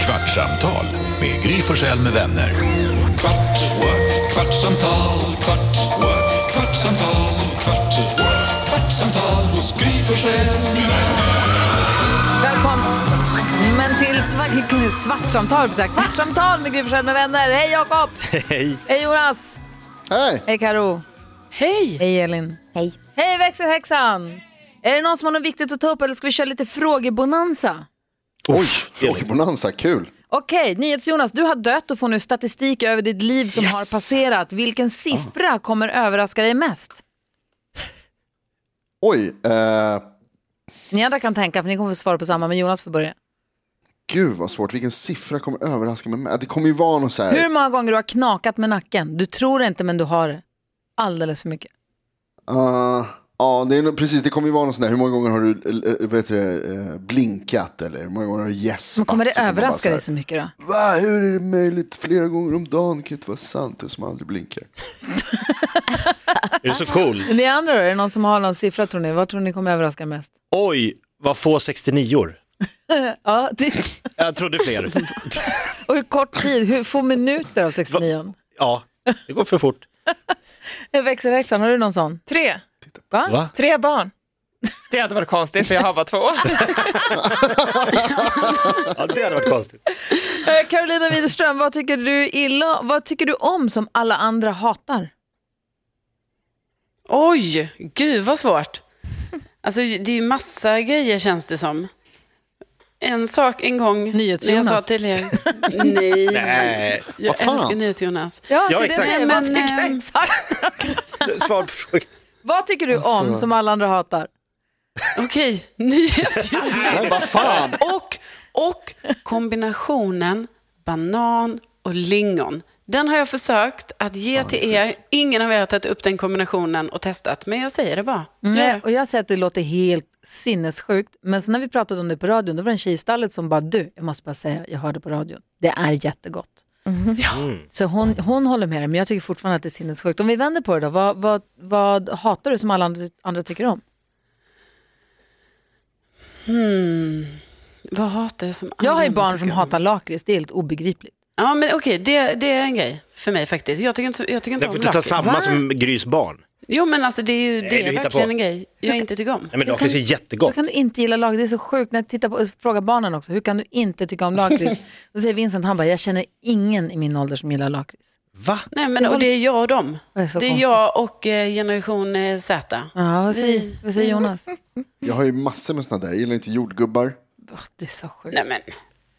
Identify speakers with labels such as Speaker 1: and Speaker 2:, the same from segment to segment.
Speaker 1: Kvartsamtal med Gry Forssell med vänner. Kvart, what? kvartsamtal, kvart, what? kvartsamtal, kvart, what? kvartsamtal hos Gry Forssell med vänner.
Speaker 2: Välkommen till svart, Svartsamtal, höll jag på att säga. Kvartsamtal med Gry Forssell med vänner. Hej Jakob!
Speaker 3: Hej.
Speaker 2: Hej Jonas!
Speaker 4: Hej!
Speaker 2: Hej Karo. Hej! Hej Elin!
Speaker 5: Hej.
Speaker 2: Hej växelhäxan! Är det någon som har något viktigt att ta upp eller ska vi köra lite frågebonanza?
Speaker 4: Oj, frågebonanza, kul.
Speaker 2: Okej, NyhetsJonas, du har dött och får nu statistik över ditt liv som har passerat. Vilken siffra kommer överraska dig mest?
Speaker 4: Oj, eh,
Speaker 2: Ni andra kan tänka för ni kommer få svara på samma, men Jonas får börja.
Speaker 4: gud vad svårt. Vilken siffra kommer överraska mig? med? Det kommer ju vara något så här.
Speaker 2: Hur många gånger du har knakat med nacken? Du tror inte men du har det. alldeles för mycket.
Speaker 4: Eh, ja, det är nog- precis. Det kommer ju vara något sånt där. Hur många gånger har du eh, vad heter det, eh, blinkat eller hur många gånger har du gäspat?
Speaker 2: Men kommer det
Speaker 4: Så man bara
Speaker 2: överraska dig
Speaker 4: så
Speaker 2: så mycket då?
Speaker 4: här, Va, hur är det möjligt? Flera gånger om dagen kan ju inte vara sant. Du som aldrig blinkar.
Speaker 3: Är du så cool?
Speaker 2: Ni andra då, är det någon som har någon siffra tror ni? Vad tror ni kommer överraska mest?
Speaker 3: Oj, vad få 69-or.
Speaker 2: Ja, det,
Speaker 3: Jag trodde fler.
Speaker 2: och hur kort tid, hur få minuter av 69?
Speaker 3: Ja, det går för fort.
Speaker 2: Växelhäxan, har du någon sån?
Speaker 6: Tre.
Speaker 2: Va?
Speaker 3: Va?
Speaker 6: Tre barn. Det hade varit konstigt för jag har bara två.
Speaker 3: Ja, det hade varit konstigt.
Speaker 2: Eh, Carolina Widerström, vad tycker du illa, vad tycker du om som alla andra hatar?
Speaker 7: Oj, gud vad svårt. Alltså det är ju massa grejer känns det som. En sak en gång när jag
Speaker 2: NyhetsJonas.
Speaker 7: sa till er, nej,
Speaker 3: Nej.
Speaker 7: jag
Speaker 4: fan?
Speaker 7: älskar NyhetsJonas.
Speaker 2: Ja, eh,
Speaker 3: Ja,
Speaker 2: det är
Speaker 3: exakt.
Speaker 2: Det jag säger. vad
Speaker 7: Men,
Speaker 2: tycker du
Speaker 7: ehm,
Speaker 2: exakt?
Speaker 3: Svar på frågan.
Speaker 2: Vad tycker du om
Speaker 4: Alltså.
Speaker 2: som alla andra hatar?
Speaker 7: Okej, NyhetsJonas.
Speaker 4: Nej, vad fan.
Speaker 7: Och, och kombinationen banan och lingon. Den har jag försökt att ge till er. Ingen av er har tagit upp den kombinationen och testat, men jag säger det bara.
Speaker 2: Nej, och jag säger att det låter helt sinnessjukt, men så när vi pratade om det på radion, då var det en tjej i stallet som bara, du, jag måste bara säga, jag hörde på radion, det är jättegott.
Speaker 7: Mm-hmm.
Speaker 2: Ja. Så hon, hon håller med dig, men jag tycker fortfarande att det är sinnessjukt. Om vi vänder på det då, vad, vad, vad hatar du som alla andra, andra tycker om?
Speaker 7: Vad hatar jag som
Speaker 2: Jag har ju
Speaker 7: andra
Speaker 2: barn
Speaker 7: tycker
Speaker 2: som
Speaker 7: om?
Speaker 2: hatar lakrits, det är helt obegripligt.
Speaker 7: Ja, men okej, det, det är en grej för mig faktiskt. Jag tycker inte, jag tycker inte
Speaker 3: Därför
Speaker 7: om
Speaker 3: att du tar
Speaker 7: lakrits.
Speaker 3: samma som Grys barn.
Speaker 7: Jo, men alltså det är ju
Speaker 3: du
Speaker 7: det är
Speaker 3: hittar
Speaker 7: verkligen
Speaker 3: på.
Speaker 7: en grej jag inte tycker om.
Speaker 3: Nej, men lakrits är
Speaker 2: Hur
Speaker 3: jättegott.
Speaker 2: kan du inte gilla lakrits? Det är så sjukt. När jag tittar på, frågar barnen också, hur kan du inte tycka om lakrits? Då säger Vincent, han bara, jag känner ingen i min ålder som gillar lakrits.
Speaker 3: Va?
Speaker 7: Nej, men och det är jag och dem.
Speaker 2: Det är så
Speaker 7: Det är
Speaker 2: konstigt.
Speaker 7: jag och eh, generation eh, Z.
Speaker 2: Ja, vad säger, vad säger Jonas?
Speaker 4: Jag har ju massor med sådana där. Jag gillar inte jordgubbar.
Speaker 2: Åh, det är så sjukt.
Speaker 7: Nej, men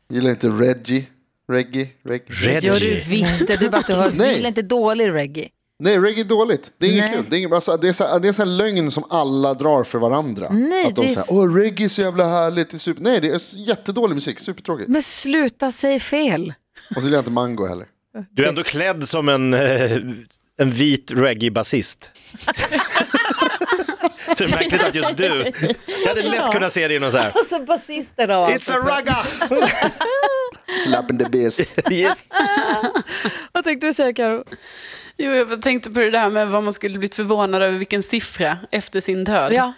Speaker 4: Jag gillar inte reggae. Reggae? reggae.
Speaker 3: Reggae.
Speaker 2: Gör du visst det, du bara att du hör, du
Speaker 4: Nej.
Speaker 2: gillar inte dålig reggae.
Speaker 4: Nej, reggae är dåligt. Det är inget
Speaker 2: Nej.
Speaker 4: kul. Det är, inget, alltså, det, är så här, det är så här lögn som alla drar för varandra.
Speaker 2: Nej,
Speaker 4: att de
Speaker 2: det är
Speaker 4: säger
Speaker 2: s-
Speaker 4: åh reggae är så jävla härligt, det är super... Nej, det är s- jättedålig musik, supertråkigt.
Speaker 2: Men sluta säg fel.
Speaker 4: Och så gillar jag inte mango heller.
Speaker 3: Du är ändå klädd som en, eh, en vit reggae-basist. Så det är märkligt att just du, jag hade lätt kunnat se dig i någon så här,
Speaker 2: Och så basister då. alltså.
Speaker 3: it's a ragga!
Speaker 4: Slap in the bass.
Speaker 3: Yes.
Speaker 2: Vad tänkte du säga Karo?
Speaker 7: jo, jag tänkte på det där med vad man skulle blivit förvånad över vilken siffra efter sin död.
Speaker 2: Ja.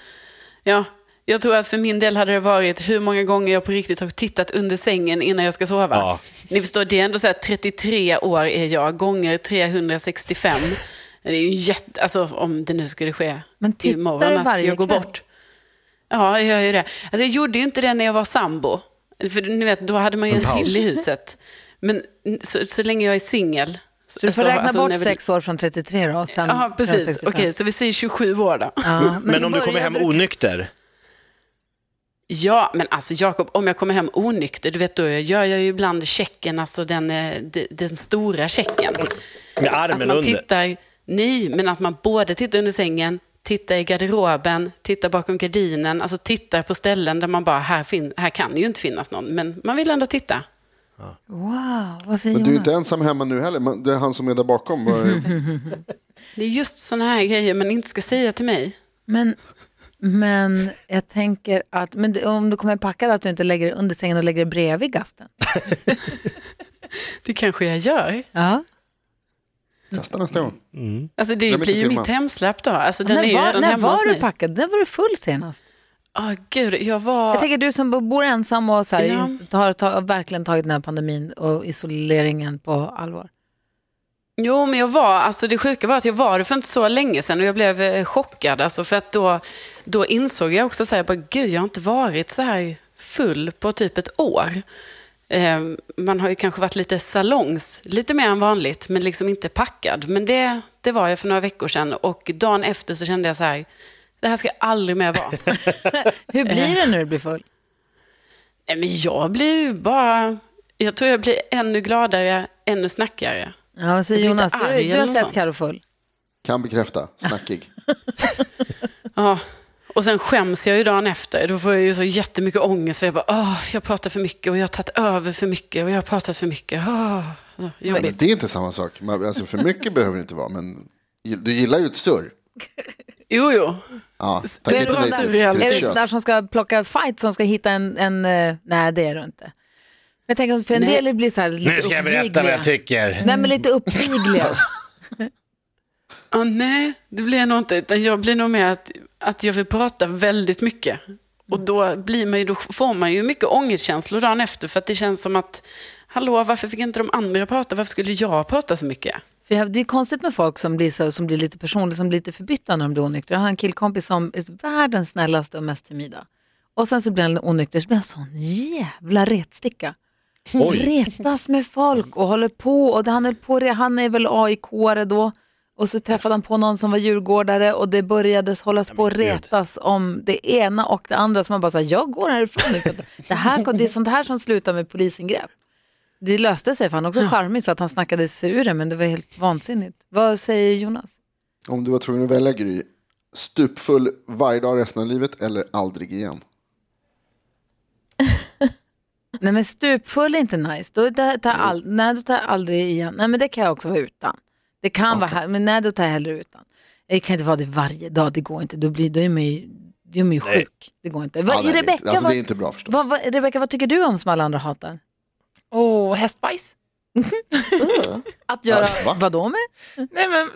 Speaker 7: Ja, jag tror att för min del hade det varit hur många gånger jag på riktigt har tittat under sängen innan jag ska sova.
Speaker 3: Ja.
Speaker 7: Ni förstår, det är ändå så här 33 år är jag, gånger 365. Det är ju en jätte, alltså om det nu skulle ske
Speaker 2: Men tittar du
Speaker 7: imorgon att
Speaker 2: varje
Speaker 7: jag går
Speaker 2: kväll?
Speaker 7: bort. Ja, jag gör ju det. Alltså, jag gjorde ju inte det när jag var sambo. För ni vet, då hade man ju en,
Speaker 3: paus.
Speaker 7: till i huset. Men så, så länge jag är singel. alltså,
Speaker 2: Så alltså, du får räkna bort
Speaker 7: när vi-
Speaker 2: sex år från 33 då. och Sen
Speaker 7: Ja,
Speaker 2: från
Speaker 7: precis.
Speaker 2: 65.
Speaker 7: Okej, så vi säger 27 år då.
Speaker 2: Ja, men
Speaker 3: Men
Speaker 2: så
Speaker 3: om du kommer hem
Speaker 2: började du-
Speaker 3: onykter,
Speaker 7: Ja, men alltså Jakob, om jag kommer hem onykter, du vet då jag gör jag ju ibland checken, alltså den, eh, de- den stora checken.
Speaker 3: med
Speaker 7: Att
Speaker 3: armen
Speaker 7: man
Speaker 3: under.
Speaker 7: tittar, nej, men att man både tittar under sängen, tittar i garderoben, tittar bakom gardinen, alltså tittar på ställen där man bara, här, fin- här kan ju inte finnas någon, men man vill ändå titta.
Speaker 2: Wow, vad säger
Speaker 4: Men du är
Speaker 2: Jonas?
Speaker 4: inte ensam hemma nu heller, men det är han som är där bakom. Vad-
Speaker 7: Det är just sådana här grejer man inte ska säga till mig.
Speaker 2: Men, men jag tänker att, men det- om du kommer packad att du inte lägger det under sängen och lägger det bredvid gasten.
Speaker 7: Det kanske jag gör.
Speaker 2: Ja.
Speaker 4: Testa nästa gång.
Speaker 7: Alltså det
Speaker 4: Glöm inte
Speaker 7: blir ju
Speaker 4: filma.
Speaker 7: mitt hemsläpp då. Alltså den är
Speaker 2: när
Speaker 7: ju
Speaker 2: var,
Speaker 7: redan
Speaker 2: när
Speaker 7: hemma hos
Speaker 2: var du
Speaker 7: mig.
Speaker 2: packad? När var du full senast?
Speaker 7: ah gud, jag var...
Speaker 2: Jag tänker du som bor ensam och så här,
Speaker 7: Ja.
Speaker 2: inte har ta, verkligen tagit den här pandemin och isoleringen på allvar.
Speaker 7: Jo, men jag var, alltså det sjuka var att jag var det för inte så länge sedan och jag blev eh, chockad. Alltså för att då, då insåg jag också så här, jag bara, gud, jag har inte varit så här full på typ ett år. Eh, man har ju kanske varit lite salongs, lite mer än vanligt, men liksom inte packad. Men det, det var jag för några veckor sedan och dagen efter så kände jag så här, det här ska jag aldrig mer vara.
Speaker 2: Hur blir det när du blir full?
Speaker 7: Nej, men jag blir ju bara, jag tror jag blir ännu gladare, ännu snackigare.
Speaker 2: Ja, vad säger
Speaker 7: Jag blir
Speaker 2: Jonas,
Speaker 7: inte
Speaker 2: du,
Speaker 7: arg
Speaker 2: du
Speaker 7: eller
Speaker 2: har
Speaker 7: något
Speaker 2: sett
Speaker 7: sånt.
Speaker 2: Carro full.
Speaker 4: Kan bekräfta, snackig.
Speaker 7: Ja, och sen skäms jag ju dagen efter. Då får jag ju så jättemycket ångest. För jag bara, Åh, jag pratar för mycket och jag har tagit över för mycket och jag har pratat för mycket. Åh,
Speaker 4: Men
Speaker 7: jobbigt.
Speaker 4: det är inte samma sak. Man- Alltså, för mycket behöver det inte vara, men du gillar ju ett surr.
Speaker 7: Jo, jo.
Speaker 4: Ja, tackar
Speaker 2: det
Speaker 4: inte nej
Speaker 2: sån
Speaker 4: till,
Speaker 2: där-
Speaker 4: till
Speaker 7: är
Speaker 2: Är
Speaker 4: ett
Speaker 2: det sån där
Speaker 4: kött.
Speaker 2: som ska plocka fight, som ska hitta en... en eh, nej, det är du inte. Men jag tänker, för en
Speaker 7: Nej.
Speaker 2: del blir så här lite
Speaker 3: Nu ska jag berätta vad
Speaker 2: uppvigliga.
Speaker 3: jag tycker.
Speaker 2: Nej, men lite uppvigliga.
Speaker 7: Ah, nej, det blir jag nog inte. Utan jag blir nog med att, att jag vill prata väldigt mycket. Och då, blir man ju, då får man ju mycket ångestkänslor dagen efter. För att det känns som att, hallå, varför fick inte de andra prata? Varför skulle jag prata så mycket?
Speaker 2: För jag- det är konstigt med folk som blir, så, som blir lite personliga, som blir lite förbytta när de blir onyktra. Jag har en killkompis som är världens snällaste och mest timida. Och sen så blir han onykter, så blir han sån jävla retsticka. Retas med folk och håller på. Och det han, höll på det, han är väl AIK-are då. Och så träffade han på någon som var djurgårdare och det började hållas på och retas om det ena och det andra. Så man bara, så här, jag går härifrån nu. För att det, här, det är sånt här som slutar med polisingrepp. Det löste sig för han är också charmig så att han snackade sig ur det men det var helt vansinnigt. Vad säger Jonas?
Speaker 4: Om du var tvungen att välja Gry, stupfull varje dag resten av livet eller aldrig igen?
Speaker 2: Nej men stupfull är inte nice. Då tar jag, all, nej, då tar jag aldrig igen. Nej men det kan jag också vara utan. Det kan vara här, men nej då tar jag hellre utan. Jag kan inte vara det varje dag, det går inte. Då, blir, då är man ju, då är man ju sjuk. Det går inte. Vad,
Speaker 4: Ja, nej, det är inte-
Speaker 2: Rebecka,
Speaker 4: alltså,
Speaker 2: vad,
Speaker 4: det är inte bra förstås.
Speaker 2: vad, vad, Rebecka, vad tycker du om som alla andra hatar?
Speaker 6: Och hästbajs?
Speaker 2: Att göra
Speaker 4: va?
Speaker 2: vad då med?
Speaker 6: Nej, men,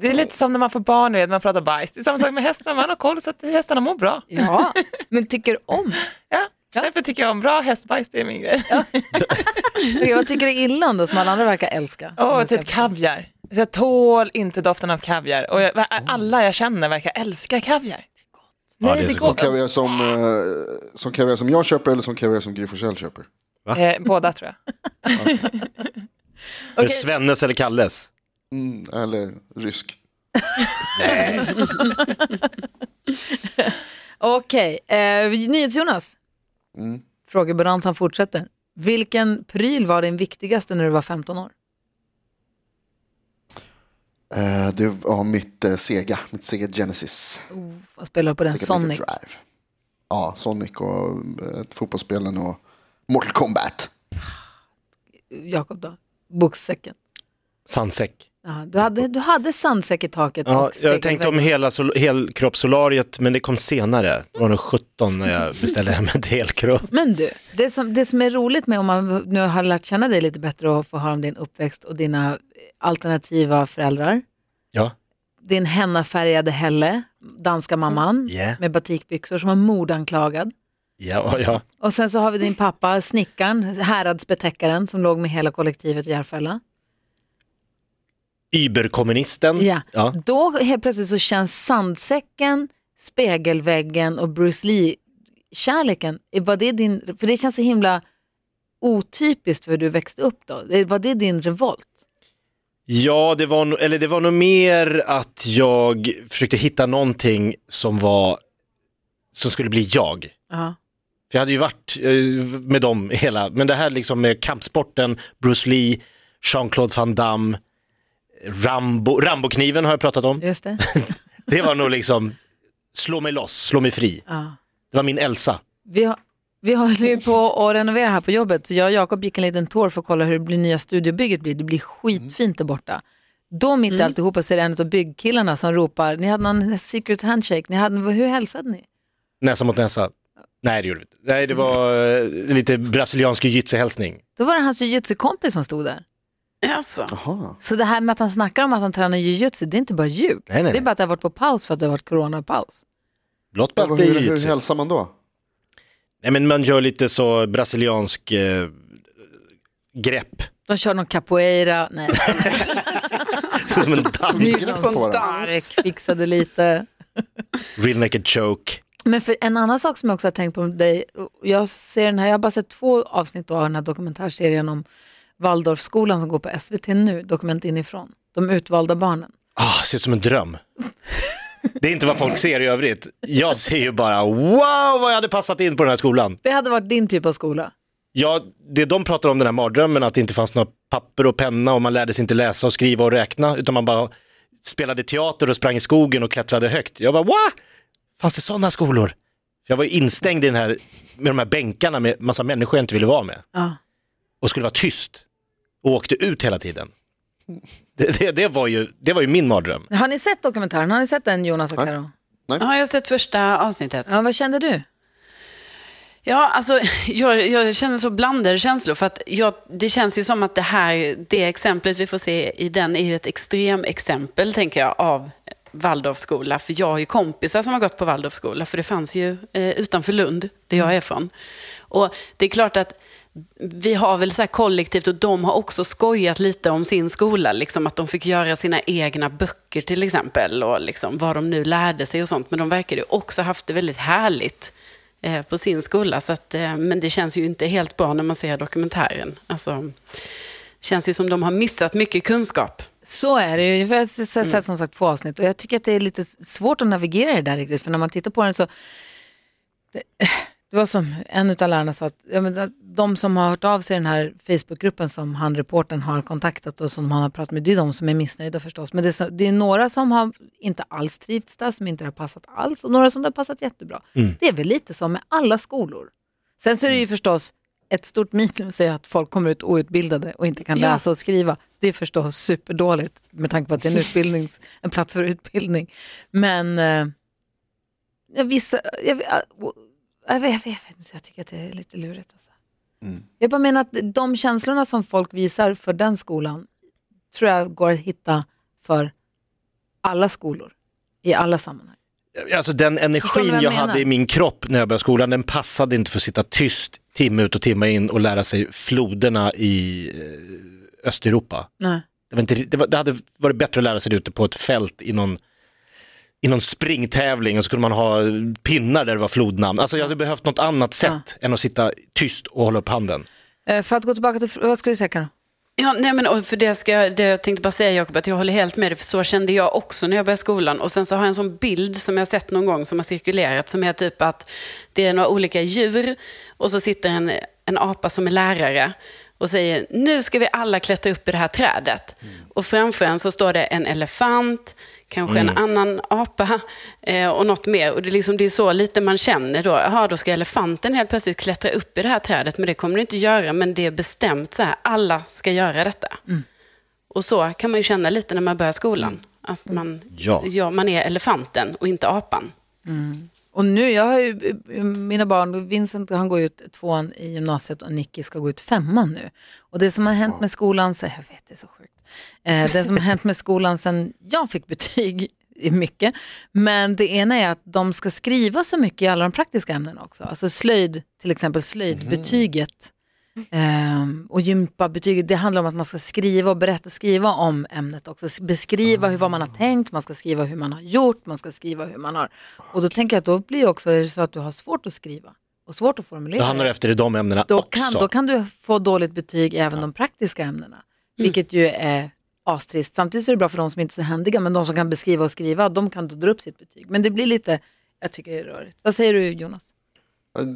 Speaker 6: Det är lite som när man får barn, du vet, man pratar bajs. Det är samma sak med hästar, man har koll så att hästarna mår bra.
Speaker 2: Ja, men tycker om.
Speaker 6: Ja. Därför tycker jag om bra hästbajs, det är min grej.
Speaker 2: Okej, Vad tycker du illa om då som alla andra verkar älska?
Speaker 6: Och typ kaviar. Så jag tål inte doften av kaviar och jag, alla jag känner verkar älska kaviar. Nej,
Speaker 3: Ja, det är så gott.
Speaker 4: Kaviar som, eh, som kaviar som jag köper eller som kaviar som Gry Forssell köper?
Speaker 6: Eh, båda tror jag.
Speaker 3: Är det Svennes eller Kalles?
Speaker 4: Mm, eller rysk.
Speaker 2: Okej, eh, NyhetsJonas. Mm. Frågebalansen fortsätter. Vilken pryl var din viktigaste när du var 15 år?
Speaker 4: Eh, det var mitt eh, Sega, mitt Sega Genesis.
Speaker 2: Vad spelar du på den?
Speaker 4: Sega
Speaker 2: Sonic?
Speaker 4: Mega Drive. Ja, Sonic och eh, fotbollsspelen och Mortal Kombat.
Speaker 2: Jakob då? Boxsäcken?
Speaker 3: Sandsäck.
Speaker 2: Ja, du, hade, du hade sandsäck i taket
Speaker 3: Ja,
Speaker 2: och
Speaker 3: jag tänkte om
Speaker 2: spegelvägg.
Speaker 3: hela sol- helkroppssolariet, men det kom senare. Det var nog 17 när jag beställde hem ett helkropp.
Speaker 2: Men du, det som, det som är roligt med om man nu har lärt känna dig lite bättre och får höra om din uppväxt och dina alternativa föräldrar.
Speaker 3: Ja.
Speaker 2: Din hennafärgade Helle, danska mamman
Speaker 3: Mm. Yeah.
Speaker 2: med batikbyxor som var mordanklagad.
Speaker 3: Ja, ja.
Speaker 2: Och sen så har vi din pappa, snickaren, häradsbetäckaren som låg med hela kollektivet i Järfälla.
Speaker 3: Überkommunisten.
Speaker 2: Ja.
Speaker 3: Ja.
Speaker 2: Då helt plötsligt så känns sandsäcken, spegelväggen och Bruce Lee-kärleken, var det din, för det känns så himla otypiskt för hur du växte upp då. Eh, Var det din revolt?
Speaker 3: Ja, det var, nog- eller det var nog mer att jag försökte hitta någonting som var som skulle bli jag.
Speaker 2: Ja.
Speaker 3: För jag hade ju varit eh, med dem hela, men det här liksom med kampsporten, Bruce Lee, Jean-Claude Van Damme, Rambo, Rambokniven har jag pratat om.
Speaker 2: Just det.
Speaker 3: Det var nog liksom, slå mig loss, slå mig fri.
Speaker 2: Ja.
Speaker 3: Det var min Elsa.
Speaker 2: Vi, har, vi håller ju på att renovera här på jobbet, så jag och Jakob gick en liten tour för att kolla hur det blir, nya studiobygget blir. Det blir skitfint där borta. Då mitt i alltihopa så är det en av byggkillarna som ropar, ni hade någon secret handshake, ni hade, hur hälsade ni?
Speaker 3: Näsa mot näsa. Nej, det gjorde vi inte. Nej, det var eh, lite brasiliansk jujutsu-hälsning.
Speaker 2: Då var det hans jujutsu-kompis som stod där.
Speaker 7: Alltså.
Speaker 4: Jaha.
Speaker 2: Så det här med att han snackar om att han tränar jujutsu, det är inte bara ljug.
Speaker 3: Nej, nej,
Speaker 2: Det är
Speaker 3: nej.
Speaker 2: bara att det har varit på paus för att det har varit coronapaus.
Speaker 3: Blått
Speaker 4: Hur,
Speaker 3: bälte i
Speaker 4: hur, hur
Speaker 3: jujutsu.
Speaker 4: hälsar man då?
Speaker 3: Nej men man gör lite så brasiliansk eh, grepp.
Speaker 2: De kör någon capoeira, nej,
Speaker 3: Som en dans.
Speaker 4: Grepp
Speaker 2: någon
Speaker 4: på den.
Speaker 2: stark, fixade lite.
Speaker 3: Real naked choke.
Speaker 2: Men för en annan sak som jag också har tänkt på med dig, och jag, ser den här, jag har bara sett två avsnitt av den här dokumentärserien om Waldorfskolan som går på SVT nu, Dokument inifrån, de utvalda barnen.
Speaker 3: Ah, ser ut som en dröm. Det är inte vad folk ser i övrigt. Jag ser ju bara wow vad jag hade passat in på den här skolan.
Speaker 2: Det hade varit din typ av skola.
Speaker 3: Ja, det de pratar om den här mardrömmen att det inte fanns några papper och penna och man lärde sig inte läsa och skriva och räkna utan man bara spelade teater och sprang i skogen och klättrade högt. Jag bara what? Fanns det sådana skolor? För jag var ju instängd i den här, med de här bänkarna med massa människor jag inte ville vara med
Speaker 2: Ja.
Speaker 3: och skulle vara tyst och åkte ut hela tiden. Det, det, det, var, ju, det var ju min mardröm.
Speaker 2: Har ni sett dokumentären? Har ni sett den Jonas och Karo?
Speaker 7: Ja, jag har sett första avsnittet.
Speaker 2: Ja, vad kände du?
Speaker 7: Ja, alltså, jag, jag känner så blandade känslor. För att jag, det känns ju som att det här, det exemplet vi får se i den är ju ett extremexempel, tänker jag, av Waldorfskola. För jag har ju kompisar som har gått på Waldorfskola, för det fanns ju eh, utanför Lund, där jag är från. Och det är klart att vi har väl så här kollektivt och de har också skojat lite om sin skola. Liksom att de fick göra sina egna böcker till exempel och liksom vad de nu lärde sig och sånt. Men de verkar ju också haft det väldigt härligt eh, på sin skola. Så att, eh, men det känns ju inte helt bra när man ser dokumentären. Alltså, känns ju som de har missat mycket kunskap.
Speaker 2: Så är det ju. För jag har s- sett som sagt två avsnitt och jag tycker att det är lite s- svårt att navigera i det där riktigt. För när man tittar på den så... Det, det var som en av lärarna sa, att ja, men, att de som har hört av sig i den här Facebookgruppen som han reporten har kontaktat och som han har pratat med, det är de som är missnöjda förstås. Men det är, så, det är några som har inte alls trivts där, som inte har passat alls och några som det har passat jättebra. Det är väl lite som med alla skolor. Sen så är det ju förstås ett stort minus är att folk kommer ut outbildade och inte kan
Speaker 7: Ja.
Speaker 2: läsa och skriva. Det är förstås superdåligt med tanke på att det är en, utbildnings, en plats för utbildning. Men eh, ja, vissa, jag, vet- ah, jag, vet, jag vet inte, jag tycker att det är lite lurigt. Alltså. Jag bara menar att de känslorna som folk visar för den skolan tror jag går att hitta för alla skolor i alla sammanhang.
Speaker 3: Alltså den
Speaker 2: Förstår ni
Speaker 3: energin
Speaker 2: vad
Speaker 3: jag,
Speaker 2: jag menar?
Speaker 3: hade i min kropp när jag började skolan, den passade inte för att sitta tyst timme ut och timme in och lära sig floderna i eh, Östeuropa.
Speaker 2: Nej.
Speaker 3: Det, var inte, det, var, det hade varit bättre att lära sig det ute på ett fält i någon, i någon springtävling och så kunde man ha pinnar där det var flodnamn. Alltså jag hade behövt något annat sätt än att sitta tyst och hålla upp handen.
Speaker 2: Eh, För att gå tillbaka till, fr- vad skulle du säga Karin?
Speaker 7: Ja, nej men, och för det, ska, jag- det jag tänkte bara säga Jakob, att jag håller helt med dig, för så kände jag också när jag började skolan. Och sen så har jag en sån bild som jag sett någon gång som har cirkulerat, som är typ att det är några olika djur och så sitter en, en apa som är lärare och säger nu ska vi alla klättra upp i det här trädet. Och framför en så står det en elefant, kanske en annan apa eh, och något mer. Och det, är liksom, det är så lite man känner då. Jaha, då ska elefanten helt plötsligt klättra upp i det här trädet, men det kommer den inte göra. Men det är bestämt så här, alla ska göra detta. Och så kan man ju känna lite när man börjar skolan. Att man,
Speaker 3: Ja.
Speaker 7: ja. man är elefanten och inte apan.
Speaker 2: Och nu, jag har ju, mina barn, Vincent han går ut tvåan i gymnasiet och Nicky ska gå ut femman nu. Och det som har hänt med skolan, så, jag vet det är så sjukt, eh, det som har hänt med skolan sen jag fick betyg är mycket, men det ena är att de ska skriva så mycket i alla de praktiska ämnena också. Alltså slöjd, till exempel slöjdbetyget ehm, och gympabetyget, det handlar om att man ska skriva och berätta, skriva om ämnet också. S- Beskriva hur, vad man har
Speaker 3: Ah.
Speaker 2: tänkt, man ska skriva hur man har gjort, man ska skriva hur man har... Och då tänker jag att då blir ju också, är det så att du har svårt att skriva och svårt att formulera
Speaker 3: Då hamnar du efter i de ämnena
Speaker 2: då
Speaker 3: också.
Speaker 2: kan, då kan du få dåligt betyg även de praktiska
Speaker 3: Mm.
Speaker 2: ämnena, vilket ju är astrist. Samtidigt så är det bra för de som inte är så händiga, men de som kan beskriva och skriva, de kan då dra upp sitt betyg. Men det blir lite, jag tycker det är rörigt. Vad säger du Jonas?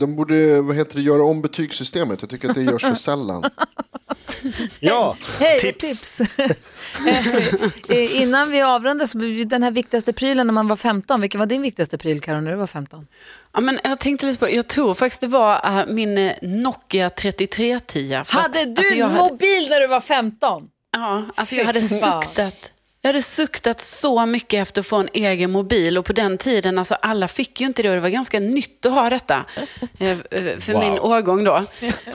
Speaker 4: De borde vad heter det, göra om betygssystemet. Jag tycker att det görs för sällan.
Speaker 3: Ja,
Speaker 2: Hej,
Speaker 3: tips.
Speaker 2: tips. Eh, Innan vi avrundar, så blir den här viktigaste prylen när man var 15, vilken var din viktigaste pryl Karin när du var 15?
Speaker 7: Ja, men jag tänkte lite på, jag tror faktiskt det var äh, min eh, Nokia 3310. För att-
Speaker 2: Hade du
Speaker 7: alltså, jag hade-
Speaker 2: mobil när du var 15?
Speaker 7: Ja, alltså
Speaker 2: Fy
Speaker 7: jag hade
Speaker 2: fan.
Speaker 7: suktat. Jag hade suktat så mycket efter att få en egen mobil och på den tiden, alltså alla fick ju inte det och det var ganska nytt att ha detta eh, eh, för
Speaker 3: Wow.
Speaker 7: min årgång då.